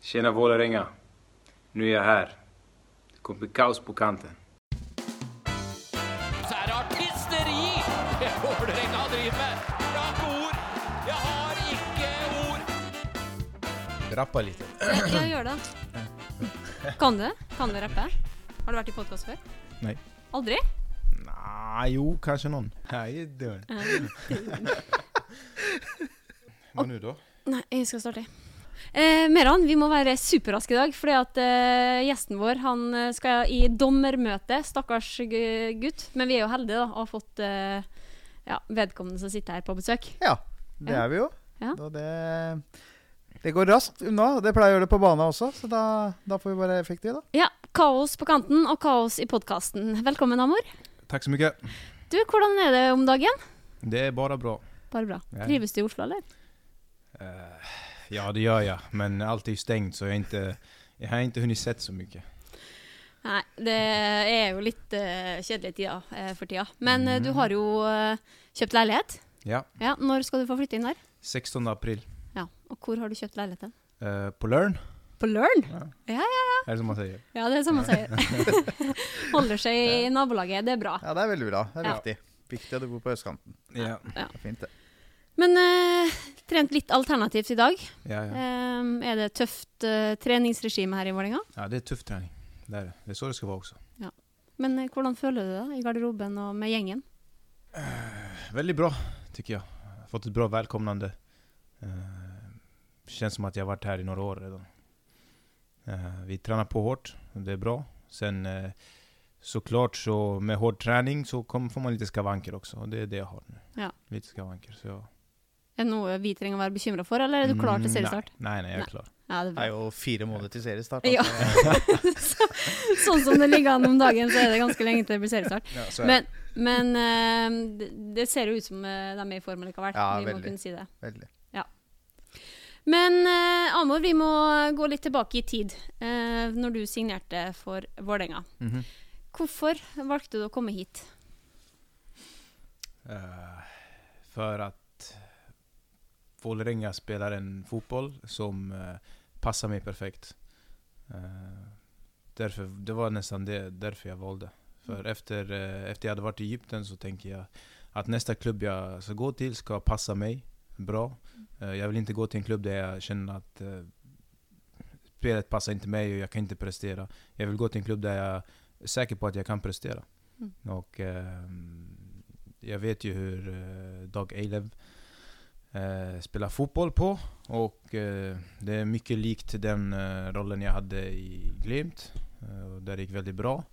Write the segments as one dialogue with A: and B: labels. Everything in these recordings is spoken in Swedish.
A: Tjena Vålerenga. Nu är jag här. Det kommer bli kaos på kanten.
B: Så här artisteri! Vålerenga driver. Jag har ikke ord. Jag har ikke ord.
C: Rappa lite.
D: Jeg, jeg gjør det. Kan du? Kan du rappe? Har du vært i podkast før?
C: Nej.
D: Aldri?
C: Nej, Ah, jo, kanske någon. How you doing? Vad nu då?
D: Nei, jeg skal starte. Eh, Meran, vi må være superraske i dag, fordi at eh, gjesten vår han eh, skal i dommermøte. Stakkars gu- gutt. Men vi er jo heldige da, og har fått eh, ja, vedkommende som sitter her på besøk.
E: Ja, det
D: Ja.
E: er vi jo.
D: Ja.
E: Og det, det går raskt unna. Det pleier å gjøre det på banen også, så da, da får vi være effektive, da.
D: Ja, kaos på kanten og kaos i podkasten. Velkommen, Amor.
C: Tack så mycket.
D: Du, hvordan er det om dagen?
C: Det är bara bra.
D: Bare bra.
C: Ja.
D: Trives du i Oslo, eller?
C: Eh, ja, det gör jag. Men allt är ju stängt så jag, är inte, jag har inte hunnit sett så mycket.
D: Nei, det er jo litt eh, kjedelige tider eh, for tida. Men eh,
C: Mm.
D: du har jo eh, kjøpt leilighet.
C: Ja,
D: Ja, Når skal du få flytte inn der?
C: 16 april.
D: Ja, Og hvor har du kjøpt leiligheten?
C: Eh, på Lörn,
D: På Løren?
C: är det som man säger.
D: Ja, det er det samme sier. Holder seg i nabolaget, det er bra.
E: Ja, det er veldig bra. Det er
D: Ja.
E: viktig. Viktig at du bor på østkanten.
C: Ja,
E: Det er Fint, det.
D: Men eh, trent litt alternativt i dag.
C: ja, ja.
D: Ehm, er det tøft eh, treningsregime her i Vålerenga?
C: ja det är tuff träning. Det är det. Det är så det ska vara också.
D: Men eh, hvordan føler du det da, i garderoben og med gjengen?
C: Väldigt bra, tycker jag. Jag har Fått ett bra välkomnande. Eh, känns som att jag har varit här i några år redan. Eh, vi tränar på hårt, och det är bra. Sen eh, såklart så med hård träning så kom, får man lite skavanker också. Och det är det jag har nu.
D: Ja.
C: Lite skavanker. Så jag,
D: Er det noe vi trenger å være bekymra for, eller er du klar til
C: Mm,
D: seriestart?
C: Nej, nej, nej jag är
D: Nej.
C: klar.
D: Ja, det er bra.
E: Det er jo fire måneder til seriestart.
D: Ja.
E: altså.
D: Så, sånn som det ligger an om dagen, så er det ganske lenge til det blir seriestart.
C: Ja, så är det.
D: Men, men eh, det, det ser jo ut som eh, de er i form likevel.
E: Ja,
D: vi
E: veldig.
D: må kunne si det.
E: Veldig.
D: Men eh, Amor, vi må gå litt tilbake i tid. eh, når du signerte for Vålerenga.
C: Mhm.
D: Hvorfor valgte du å komme hit?
C: Eh, för att Vålerenga spelar en fotboll som eh, passar mig perfekt. Eh, därför, det var nästan det, därför jag valde. För efter, eh, efter jag hade varit i Egypten så tänker jag att nästa klubb jag ska gå till ska passa mig bra. Eh, jag vill inte gå till en klubb där jag känner att eh, spelet passar inte mig och jag kan inte prestera. Jag vill gå till en klubb där jag är säker på att jag kan prestera. Och ehm, jag vet ju hur eh, Dag Eilev eh, spelar fotboll på. Och eh, det är mycket likt den eh, rollen jag hade i Glimt. Eh, och där det gick väldigt bra.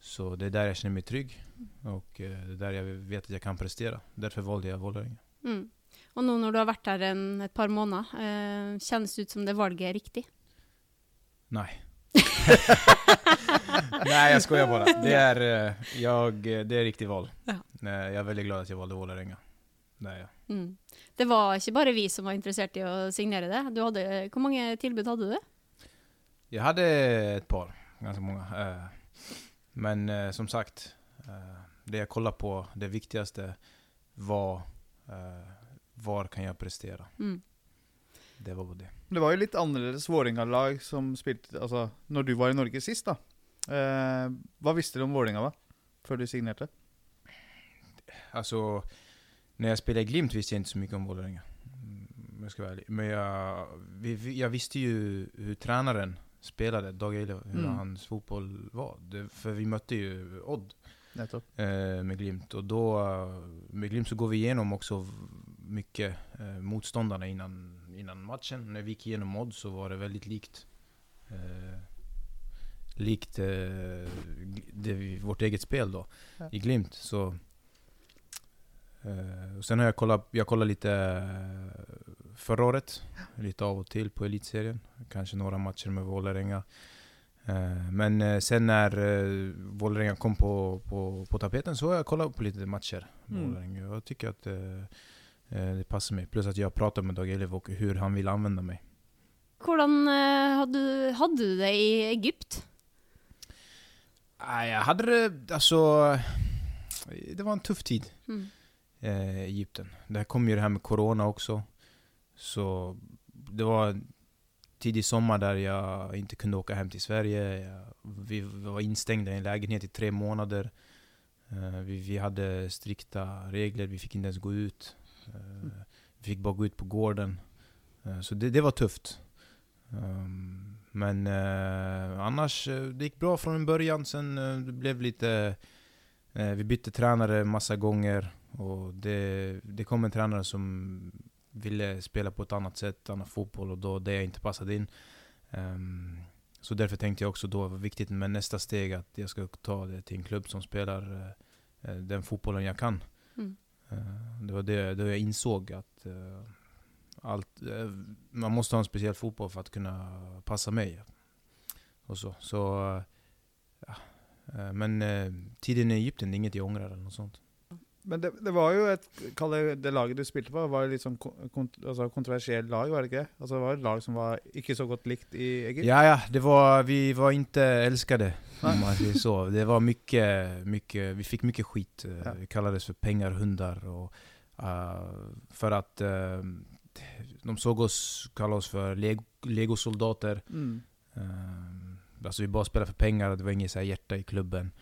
C: Så det är där jag känner mig trygg. Och eh, det är där jag vet att jag kan prestera. Därför valde jag Vålerenga.
D: Mm. Og nå når du har vært her en, et par måneder, eh, kjennes det ut som det valget er riktig?
C: Nej. Nej jag skojar bara. Det är, eh, jag, det är riktigt val.
D: Ja.
C: Nej, Jag är väldigt glad att jag valde Vålerenga. Det är jag.
D: Mm. Det var ikke bare vi som var interessert i å signere det. Du hadde, eh, hvor mange tilbud hadde du?
C: Jag hade ett par, ganska många. Eh, Men eh, som sagt, eh, det jag kollade på, det viktigaste var eh, var kan jag prestera?
D: Mm.
C: Det var det.
E: Det var jo litt annerledes Vålerenga-lag som spilte Altså, når du var i Norge sist, da. Eh, hva visste du om Vålerenga, da? Før du signerte?
C: Alltså, när jag spelade i Glimt visste jag inte så mycket om Vålerenga. Mm, om jag ska vara ärlig. Men jag, vi- vi, jag visste ju hur tränaren spelade, Dag Eilev, hur
E: Mm.
C: hans fotboll var. Det, för vi mötte ju Odd
E: Nettopp.
C: eh, med Glimt. Och då, eh, med Glimt så går vi igenom också v- mycket eh, motståndarna innan, innan matchen. När vi gick igenom Odd så var det väldigt likt. Eh, likt eh, gl- det, vi- vårt eget spel då,
E: Ja.
C: i Glimt. Så, eh, och sen har jag kollat, jag kollat lite eh, förra året, lite av och till på Elitserien. Kanske några matcher med Vålerenga. Eh, Men eh, sen när eh, Vålerenga kom på, på, på tapeten så har jag kollat på lite matcher. med
E: Mm.
C: Vålerenga. Jag tycker att eh, eh, det passar mig. Plus att jag pratar med Dag Elev och hur han vill använda mig.
D: Hvordan eh, hadde, du- hadde du det i Egypt?
C: Nej, Ah, Jag hade det, alltså... Det var en tuff tid.
D: Mm.
C: eh, Egypten. Det här kom ju det här med Corona också. Så det var tidig sommar där jag inte kunde åka hem till Sverige. Jag, vi var instängda i en lägenhet i tre månader. Eh, Vi, vi hade strikta regler, vi fick inte ens gå ut. Eh, Vi fick bara gå ut på gården. Eh, Så det, det var tufft. Ehm, Men eh, annars, eh, det gick bra från en början. Sen eh, det blev lite... eh, Vi bytte tränare massa gånger. Och det, det kom en tränare som ville spela på ett annat sätt, annan fotboll och då det jag inte passade in. Ehm, så därför tänkte jag också då var viktigt med nästa steg att jag ska ta det till en klubb som spelar eh, den fotbollen jag kan.
D: Mm.
C: Eh, det var det, då jag insåg att eh, allt, eh, man måste ha en speciell fotboll för att kunna passa mig. Och så. så eh, ja. Eh, men eh, tiden i Egypten, det är inget jag ångrar eller något sånt.
E: Men det, det var jo et Kalle, det laget du spilte på, var jo litt sånn kon- kont altså kontroversielt lag, var det ikke det? Altså Det var et lag som var ikke så godt likt i Egypt.
C: Ja, ja, det var, vi var inte älskade
E: Nej.
C: om man säger så. Det var mycket, mycket, vi fick mycket skit. eh,
E: Ja.
C: Vi kallades för pengarhundar. Och, eh, för att eh, de såg oss, kallade oss för leg- legosoldater.
E: Mm.
C: Eh, alltså vi bara spelade för pengar och det var inget så här hjärta i klubben.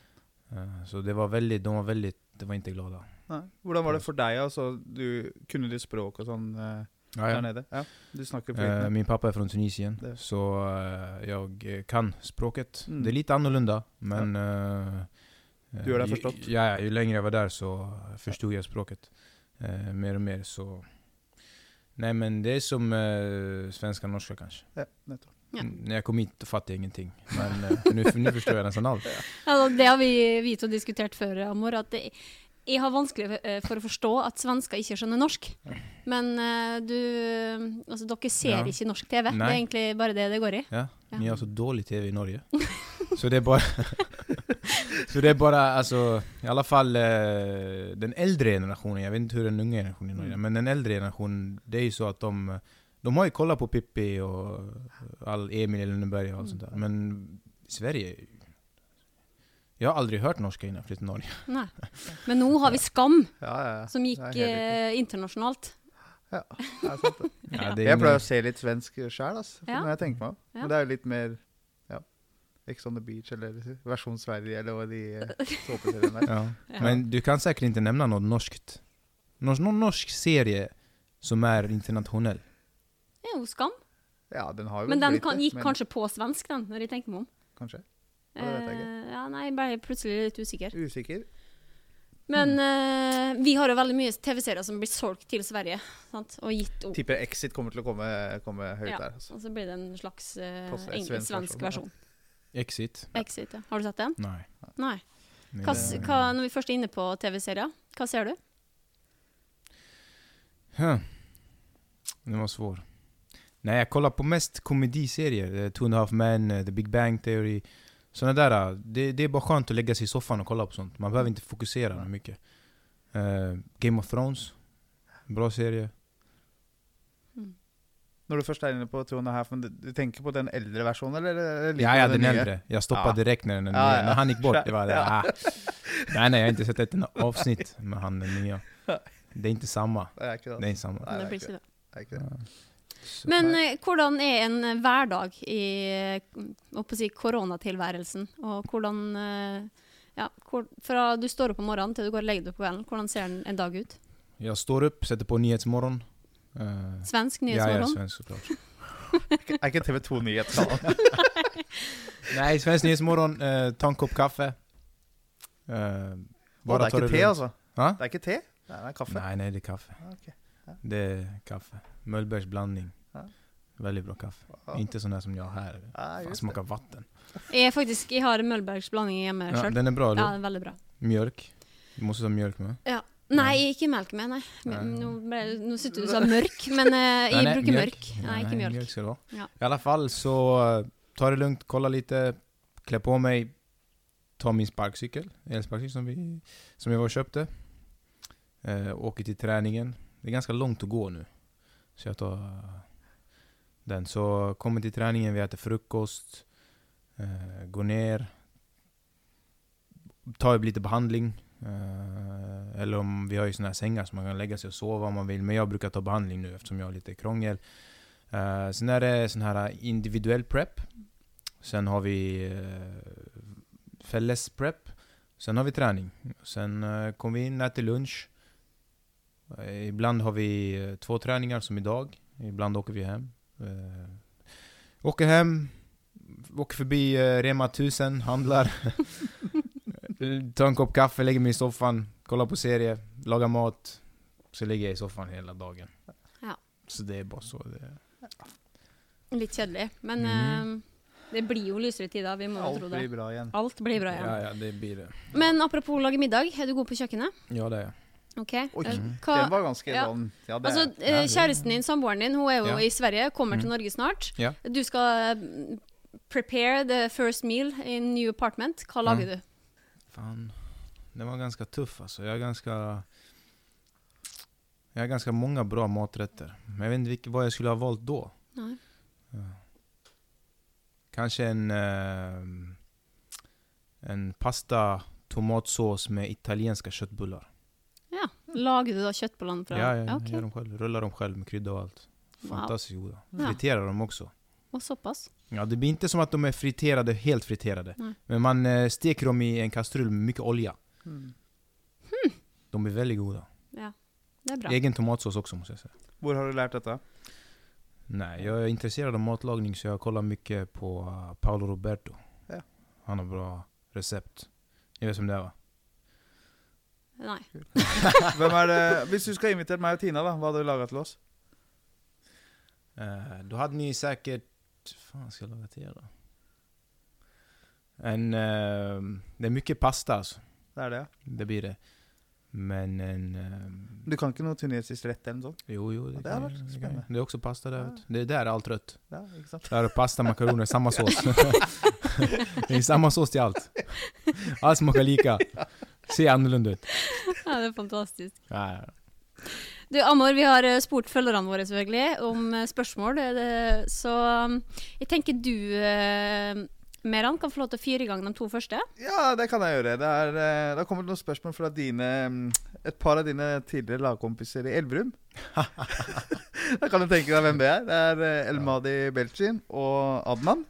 C: Eh, så det var väldigt, de var väldigt, de var inte glada.
E: Nei. Hvordan var det for deg? altså? Du, kunne du språk og sånn eh, der nede? Ja, Du snakker
C: Eh,
E: flytende.
C: Min pappa är från Tunisien,
E: Det.
C: så eh, jag eh, kan språket.
E: Mm.
C: Det är lite annorlunda, men... eh,
E: Du har det
C: eh, ju-
E: förstått?
C: Ja, ja, ju längre jag var där så förstod jag språket eh, mer och mer. Så. Nej men det är som eh, svenska och norska kanske.
E: Ja, nettopp.
D: Ja.
C: Mm, När jag kom hit fattade jag ingenting, men eh, nu, nu förstår jag nästan allt.
D: Altså, det har vi, vi to diskutert før, Amor, at det, jeg har vanskelig eh, for å forstå at svensker ikke skjønner norsk. Men eh, du Altså, dere ser
C: Ja.
D: ikke norsk TV. Det
C: Nei.
D: er egentlig bare det det går i.
C: Ja,
D: Ja.
C: ni har så dålig TV i Norge. så det är bara... så det är bara alltså, i alla fall eh, den äldre generationen, jag vet inte hur den unga generationen är,
E: Mm.
C: men den äldre generationen, det är ju så att de, de har ju kollat på Pippi och all Emil i Lönneberga och allt sånt där. Men i Sverige, jag har aldrig hört norska innan jag flyttade till Norge.
D: Nei. Men nå har vi Skam,
E: Ja, ja, ja.
D: som gikk
E: Det er helt riktig.
D: eh, internasjonalt.
E: Ja, det er sant, det.
C: Ja, det är
E: Jeg
C: ingen-
E: pleier å se litt svensk sjøl, altså,
D: Ja.
E: når jeg tenker meg om.
D: Ja.
E: Men det er jo litt mer ja, Ex on the beach eller Versjon Sverige eller hva de eh, såpeseriene der.
C: Ja. Men du kan säkert inte nämna något norskt. Någon, någon norsk serie som är internationell.
D: Det er jo Skam.
E: Ja, den har jo
D: Men den
E: blitt
D: kan,
E: det,
D: gikk kanskje på svensk, den, når jeg tenker meg om.
E: kanskje. Ja, det vet jeg ikke.
D: Eh, ja, nei, jeg ble plutselig litt usikker.
E: Usikker.
D: Men eh, vi har jo veldig mye TV-serier som blir solgt til Sverige, sant? og gitt opp.
E: Tipper Typ Exit kommer til å komme, komme høyt
D: Ja.
E: der. Altså.
D: Og så blir det en slags eh,
E: Post-
D: engelsk
E: svensk
D: svensk versjon.
E: versjon,
C: Exit?
D: Exit, ja. Har du sett den?
C: Nej.
D: Nei.
C: Nej,
D: Hva,
C: det-
D: hva, når vi først er inne på TV-serier, hva ser du?
C: Huh. Den var svår. Nej, jag kollar på mest komediserier. Eh, Two and a half men, eh, The Big Bang Theory. Såna där. eh, Det, det är bara skönt att lägga sig i soffan och kolla på sånt. Man behöver inte fokusera så mycket. Eh, Game of Thrones. Bra serie.
E: Når du først er inne på Two and a Half, men du, du tenker på den eldre versjonen, eller? eller liker
C: Ja, ja,
E: du
C: den
E: nye?
C: äldre. Jag stoppade
E: Ja.
C: direkt när, den,
E: Ja, ja.
C: när han gick bort. Det var det.
E: Ja.
C: Ah. Nej, nej, jag har inte sett ett enda avsnitt med han den nya. Det är inte samma.
E: Det er ikke
C: Det är
E: det.
C: inte samma.
E: Nei,
D: Det
E: det er
D: blir
E: ikke
D: ikke det.
E: Det er ikke det.
C: Så-
D: Men eh, hvordan er en eh, hverdag i eh, å på å si, koronatilværelsen? Og hvordan eh, ja, hvor, Fra du står opp om morgenen til du går og legger deg på kvelden, hvordan ser en- en dag ut?
C: Jag står upp, sätter på Nyhetsmorgon. Eh,
D: Svensk
C: Ja, jag är
D: nyhetsmorgen?
C: svensk såklart.
E: Er ikke TV 2 Nyhetskanalen?
C: Nej, Svensk Nyhetsmorgon, eh, ta en kopp kaffe. Eh,
E: Og det er
C: ta
E: ikke te,
C: lugnt.
E: altså?
C: Ha?
E: alltså. Det er ikke te? Nei, det er kaffe.
C: Nej, nej det är kaffe.
E: okej. Ja.
C: Det är kaffe. Möllbergsblandning.
E: Ja.
C: Väldigt bra kaffe.
E: Ja.
C: Inte sån här som jag har här.
E: Ja,
C: Fan,
E: just
C: smakar vatten.
D: Jeg, er faktisk, jeg har Møllbergs blanding hjemme
C: Ja,
D: sjøl.
C: den är bra,
D: Ja,
C: eller
D: den
C: hur?
D: er veldig bra.
C: Mjölk. Du måste ta mjölk med.
D: Nei, ikke melk med, nei. Men,
C: Nei.
D: nå, ble, nå syns du du sa mørk, men eh, jeg
C: Nej, nej,
D: bruker mørk. Nei,
C: Nej,
D: ikke mjölk.
C: ska det vara.
D: Ja.
C: I alla fall så eh, ta det lugnt, kolla lite, klä på mig, ta min sparkcykel, elsparkcykel som, vi, som jag var och köpte. Eh, åker till träningen. Det är ganska långt att gå nu. Så jag tar eh, den. Så kommer till träningen, vi äter frukost, eh, går ner, tar lite behandling. Eh, Eller om vi har ju såna här sängar som man kan lägga sig och sova om man vill. Men jag brukar ta behandling nu eftersom jag har lite krångel. Eh, sen är det sån här individuell prep. Sen har vi uh, felles prep. Sen har vi träning. Sen eh, kommer vi in, äter lunch. Eh, ibland har vi eh, två träningar som idag. Ibland åker vi hem. Eh, åker hem, åker förbi uh, Rema 1000, handlar. Tar en kopp kaffe, lägger mig i soffan, kollar på serie, lagar mat. Så ligger jag i soffan hela dagen.
D: Ja.
C: Så det är bara så det är.
D: Litt kjedelig. Men
C: Mm.
D: eh, det blir jo lysere tider, vi må jo
E: Alt
D: tro det.
E: blir bra igjen.
D: Alt blir bra igjen.
C: Ja, ja, det blir det.
D: Men apropos lage middag, er du god på kjøkkenet?
C: Ja, det er
D: Ok.
E: Oi,
D: Eh,
E: Den
D: Hva,
E: var ganske
D: Ja.
E: sånn Ja, det
D: altså,
E: er
D: eh, kjæresten din, samboeren din, hun er jo
C: Ja.
D: i Sverige, kommer
C: Mm.
D: til Norge snart.
C: Ja.
D: Du skal eh, prepare the first meal in new apartment. Hva
C: Mm.
D: lager du?
C: Fan. Den var ganska tuff alltså. Jag är ganska... Jag har ganska många bra maträtter. Men jag vet inte vilk- vad jag skulle ha valt då.
D: Nei.
C: Kanske en... ehm, en pasta tomatsås med italienska köttbullar.
D: Ja. Lager du da kjøttbollene
C: Ja,
D: fra
C: ja, jag
D: ok.
C: gör dem själv. Rullar dem själv med krydda och allt.
D: Wow.
C: Fantastiskt goda.
D: Ja.
C: Friterar dem också.
D: Og såpass.
C: Ja, det blir inte som att de är friterade, helt friterade.
D: Nej.
C: Men man eh, steker dem i en kastrull med mycket olja.
E: Mm.
C: De är väldigt goda.
D: Ja. Det er bra.
C: Egen tomatsås också måste jag säga.
E: Hvor har du lært dette?
C: Nej, jag är intresserad av matlagning så jag kollar mycket på eh, Paolo Roberto.
E: Ja.
C: Han har bra recept. Ni vet som det är va?
D: Nei.
E: Hvem er det? Hvis du skal invitere meg og Tina, da, hva hadde du laga til oss?
C: Eh, då hade ni säkert... fan ska jag laga till er då? En, eh, det är mycket pasta alltså.
E: Det er det, ja.
C: Det blir det. Men en... Eh,
E: Du kan ikke noe tunesisk rett eller noe sånt?
C: jo, jo. Det,
E: Ja, det
C: kan jag-
E: har
C: det
E: varit
C: kan jag.
E: spännande.
C: Det är också pasta där
E: Ja.
C: vet du. Det är där allt rött.
E: Ja, ikke sant?
C: Där är pasta, makaroner, samma sås. det är samma sås till allt. Allt smakar lika. Ser annorlunda ut.
D: Ja, det er fantastisk.
C: Ja, ja.
D: Du Amor, vi har eh, spurt følgerne våre selvfølgelig om eh, spørsmål. eh, det- Så um, jeg tenker du, eh, Meran, kan få lov til å fyre i gang de to første.
E: Ja, det kan jeg gjøre. Det er, eh, da kommer det noen spørsmål fra dine, mm, et par av dine tidligere lagkompiser i Elverum. da kan du tenke deg hvem det er. Det er eh, Elmadi Belcin og Adnan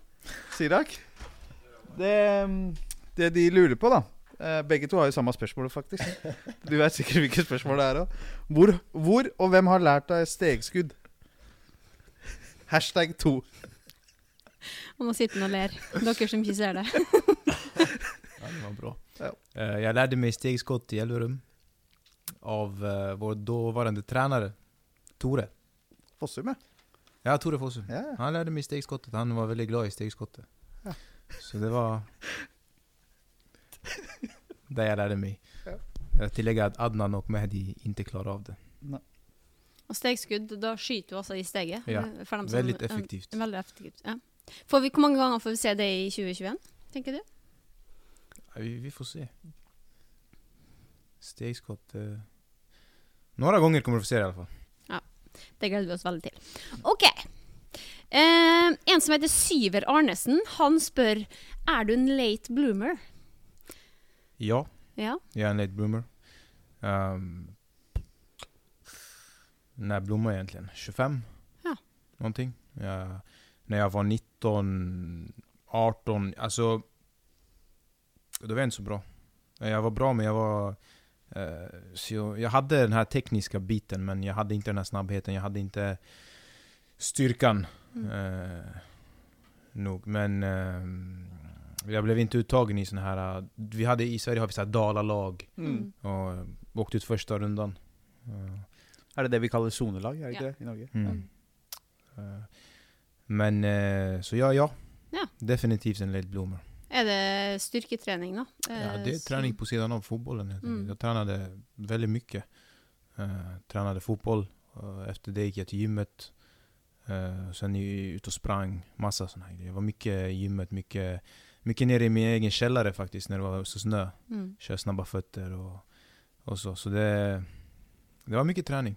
E: Sirak. Det, mm, det de lurer på, da eh, Begge to har jo samme spørsmål, faktisk. Du vet sikkert hvilke spørsmål det er òg. Hvor, hvor og hvem har lært deg stegskudd? Hashtag to.
D: Og nå sitter han og ler, dere som ikke ser det.
C: Ja, det var bra.
E: Ja.
C: Eh, jag lärde mig stegskott i Elverum av eh, vår dåvarande tränare, Tore.
E: Fossum, ja.
C: Ja, Tore Fossum.
E: ja.
C: Han lärde mig stegskottet, han var väldigt glad i stegskottet.
E: Ja.
C: Så det var... Där jag lärde mig.
E: Ja.
C: Jag tillägger att Adnan och Mehdi inte klarar av det.
D: Og stegskudd, da skyter du altså i steget.
C: Ja,
D: eh, for dem som-
C: Väldigt
D: eh,
C: effektivt.
D: Veldig effektivt, ja. Får vi, hvor mange ganger får vi se det i 2021, tenker du?
C: Ja, Vi, vi får se. Stegskott... eh, Några gånger kommer du få se det i alla fall.
D: Det gleder vi oss veldig til. Ok. Eh, en som heter Syver Arnesen, han spør Er du en late bloomer.
C: Ja,
D: Ja.
C: jag är en late bloomer. Ehm, när blommade jag egentligen? 25?
D: Ja.
C: Någonting. Jag, när jag var 19, 18, alltså... Då var jag inte så bra. Jag var bra men jag var... eh, så jag, jag hade den här tekniska biten men jag hade inte den här snabbheten, jag hade inte styrkan.
D: Mm.
C: eh, nog. Men eh, jag blev inte uttagen i sån här... eh, vi hade, I Sverige har vi så här dalalag.
E: Mm.
C: Och eh, åkte ut första rundan. Eh,
E: Er det det vi kaller sonelag, er
D: Ja.
E: det ikke det? I Norge?
C: Mm. Eh, Men eh, så ja, ja.
D: Ja.
C: Definitivt en late bloomer.
D: Er det styrketrening, da?
C: Ja,
D: Eh,
C: det är
D: som-
C: träning på sidan av fotbollen. helt enkelt.
D: Mm.
C: Jag tränade väldigt mycket. Eh, tränade fotboll. och efter det gick jag till gymmet. Eh, sen är jag ut och sprang. Massa sådana här grejer. Jag var mycket i gymmet. Mycket, mycket nere i min egen källare faktiskt när det var så snö.
D: Mm.
C: Kör snabba fötter och, och så. Så det, det var mycket träning.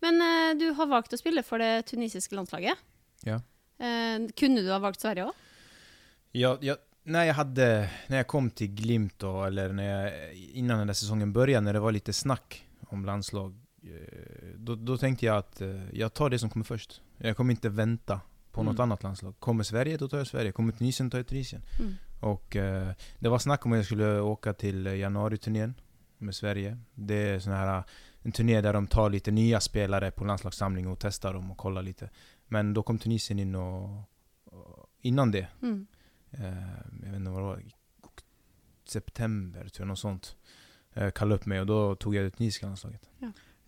D: Men eh, du har valgt å spille for det tunisiske landslaget.
C: Ja.
D: Eh, kunne du ha valgt Sverige òg?
C: Jag, jag, när, jag hade, när jag kom till Glimt då, eller när jag, innan den där säsongen började, när det var lite snack om landslag. eh, Då, då tänkte jag att eh, jag tar det som kommer först. Jag kommer inte vänta på något
D: Mm.
C: annat landslag. Kommer Sverige, då tar jag Sverige. Kommer Tunisien, tar jag Tunisien.
D: Mm.
C: Och eh, det var snack om att jag skulle åka till eh, januariturnén med Sverige. Det är sån här, eh, en turné där de tar lite nya spelare på landslagssamling och testar dem och kollar lite. Men då kom Tunisien in och, och innan det,
D: Mm.
C: eh, jag vet inte vad det var, i ok- september tror jag, något sånt. Eh, kallade upp mig och då tog jag det tunisiska landslaget.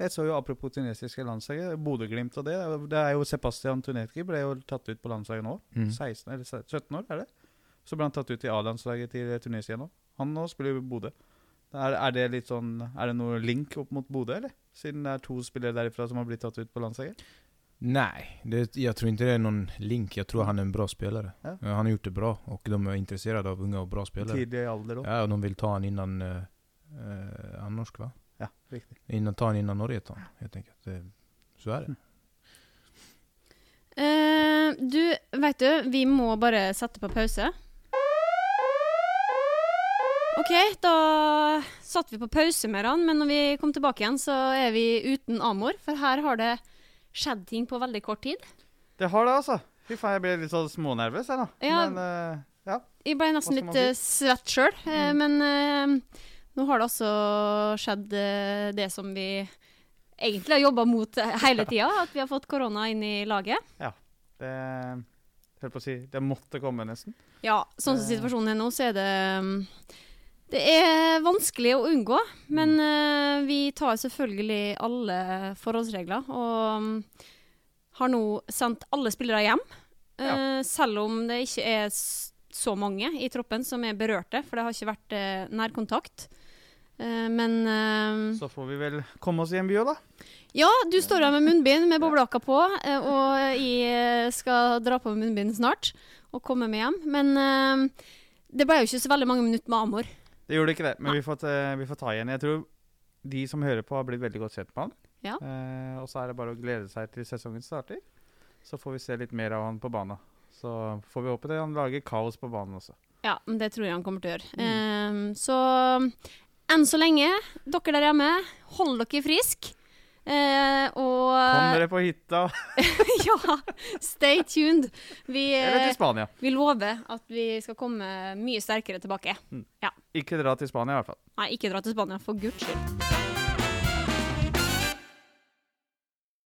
E: Jeg så jo apropos tunesiske landslaget, Bodø-Glimt og det. Det er jo Sebastian Tunetki ble jo tatt ut på landslaget nå.
C: Mm.
E: 16 eller 17 år, er det? Så ble han tatt ut i A-landslaget til Tunisia nå. Han nå spiller jo i Bodø. Er, er det litt sånn Er det noe link opp mot Bodø, eller? Siden det er to spillere derifra som har blitt tatt ut på landslaget?
C: Nej, det, jag tror inte det är någon link. Jag tror han är en bra spelare.
E: Ja.
C: Eh, Han har gjort det bra och de är intresserade av unga och bra spelare.
E: Tidlig alder òg.
C: Ja, och de vill ta han innan eh, eh, Annorsk va?
E: Ja, riktig.
C: Innan, ta han innan Norge tar han, helt enkelt. Det, så är det.
D: Eh, du, vet du, vi må bare sette på pause. OK, da satte vi på pause med han, men når vi kom tilbake igjen, så er vi uten Amor. For her har det skjedd ting på veldig kort tid.
E: Det har det, altså. Fy faen, jeg ble litt sånn smånervøs, jeg, da.
D: Ja.
E: Men eh, ja.
D: Jeg ble nesten
E: Hva skal man Mm.
D: litt eh, svett sjøl, eh, men eh, nå har det altså skjedd eh, det som vi egentlig har jobba mot eh, hele tida, at vi har fått korona inn i laget.
E: Det jeg Holdt på å si Det måtte komme, nesten.
D: Ja, sånn som
E: Eh.
D: situasjonen er nå, så er det um, Det er vanskelig å unngå, men eh, vi tar selvfølgelig alle forholdsregler og mm, har nå sendt alle spillere hjem. eh, Selv om det ikke er s- så mange i troppen som er berørte, for det har ikke vært eh, nærkontakt. Eh, Men eh,
E: Så får vi vel komme oss i en by òg, da.
D: ja, du står her med munnbind med boblejakka på, eh, og jeg eh, skal dra på med munnbind snart og komme meg hjem. Men eh, det ble jo ikke så veldig mange minutter med Amor.
E: Det gjorde ikke det, men vi får, ta- vi får ta igjen. Jeg tror de som hører på, har blitt veldig godt kjent med han.
D: Ja.
E: Eh, og så er det bare å glede seg til sesongen starter. Så får vi se litt mer av han på banen. Så får vi håpe det han lager kaos på banen også.
D: Ja, men det tror jeg han kommer til å gjøre.
E: Mm.
D: Eh, så enn så lenge, dere der hjemme, hold dere friske. Eh,
E: Kom
D: og
E: dere på hytta,
D: ja, stay tuned. Vi,
E: eller til
D: eh,
E: Spania.
D: vi lover at vi skal komme mye sterkere tilbake.
E: Ikke dra til Spania, i hvert fall.
D: Nei, ikke dra til Spania, for guds skyld.